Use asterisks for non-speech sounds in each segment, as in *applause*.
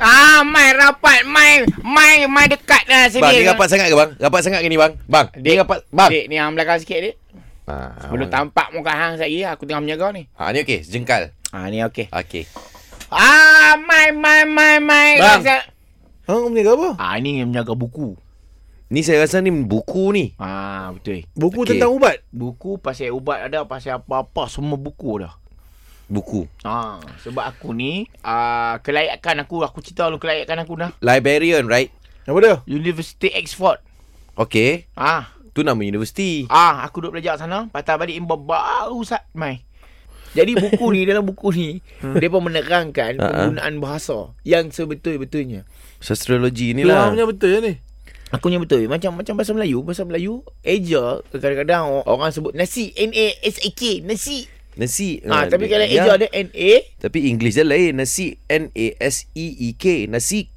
Ah, mai rapat, mai mai mai dekat lah sini. Bang, dia rapat sangat ke bang? Rapat sangat ke ni bang? Bang, Dik, dia, rapat bang. Dik, ni hang belakang sikit dik. Ha, Belum tampak muka hang lagi aku tengah menjaga ni. Ha, ni okey, jengkal. Ha ni okey. Okey. Ah, mai mai mai mai. Bang. Rasa- Hang punya apa? Ah ni yang menjaga buku. Ni saya rasa ni buku ni. Ah betul. Buku Okey. okay. tentang ubat. Buku pasal ubat ada, pasal apa-apa semua buku dah. Buku. Ah sebab aku ni ah kelayakan aku aku cerita lu kelayakan aku dah. Librarian, right? Apa dia? University Oxford. Okey. Ah Tu nama universiti. Ah, aku duduk belajar sana. Patah balik imba baru sat mai. Jadi buku ni dalam buku ni depa menerangkan Hmm. Ha, ha. penggunaan bahasa yang sebetul-betulnya. Astrologi ni Keluar lah. punya betul je ni. Aku yang betul macam macam bahasa Melayu, bahasa Melayu eja kadang-kadang or- orang sebut nasi N A S A K nasi. Nasi. Ah, tapi kalau Ya, dia- eja ada N A Tapi English dia lain. Nasi N-A-S-E-E-K. E Nasi.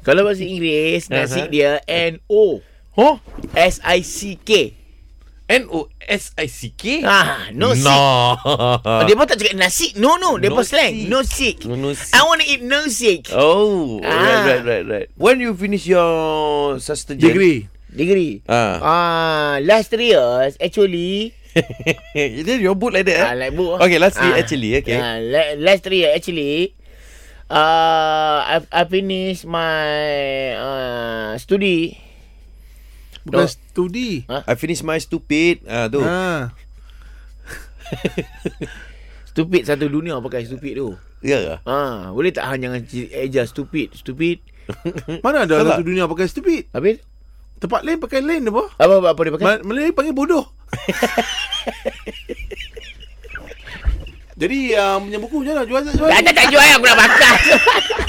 kalau bahasa Ya, Inggeris nasi Aha. dia N O Huh? S I C K. N-O-S-I-C-K? Ah, no, sick. No. Dia pun tak cakap nasi. No, no. Dia Ha. No pun slang. sick. No sick. No sick. I want to eat no sick. Oh, Ah. right, right, right, right. When you finish your sastra Degree. Degree. *laughs* Ah, Ah, last three years actually is it your boot like ah, that? eh? like book. Okay, last three actually, okay. Ah, la- last three years actually uh, I, I finish my uh, study. No. Bukan studi. I finish my stupid. Ah, tu. Ha. Stupid satu dunia pakai stupid tu. Ya ke? Ah, boleh tak hang jangan ci- eja stupid, stupid. *laughs* Mana ada Salah. satu dunia pakai stupid. Habis Tempat lain pakai lain apa? apa apa, apa dia pakai? Ma- Melayu panggil bodoh. *laughs* Jadi uh, punya buku macam mana? Jual tak jual? tak tak tak jual aku nak eh, bakar.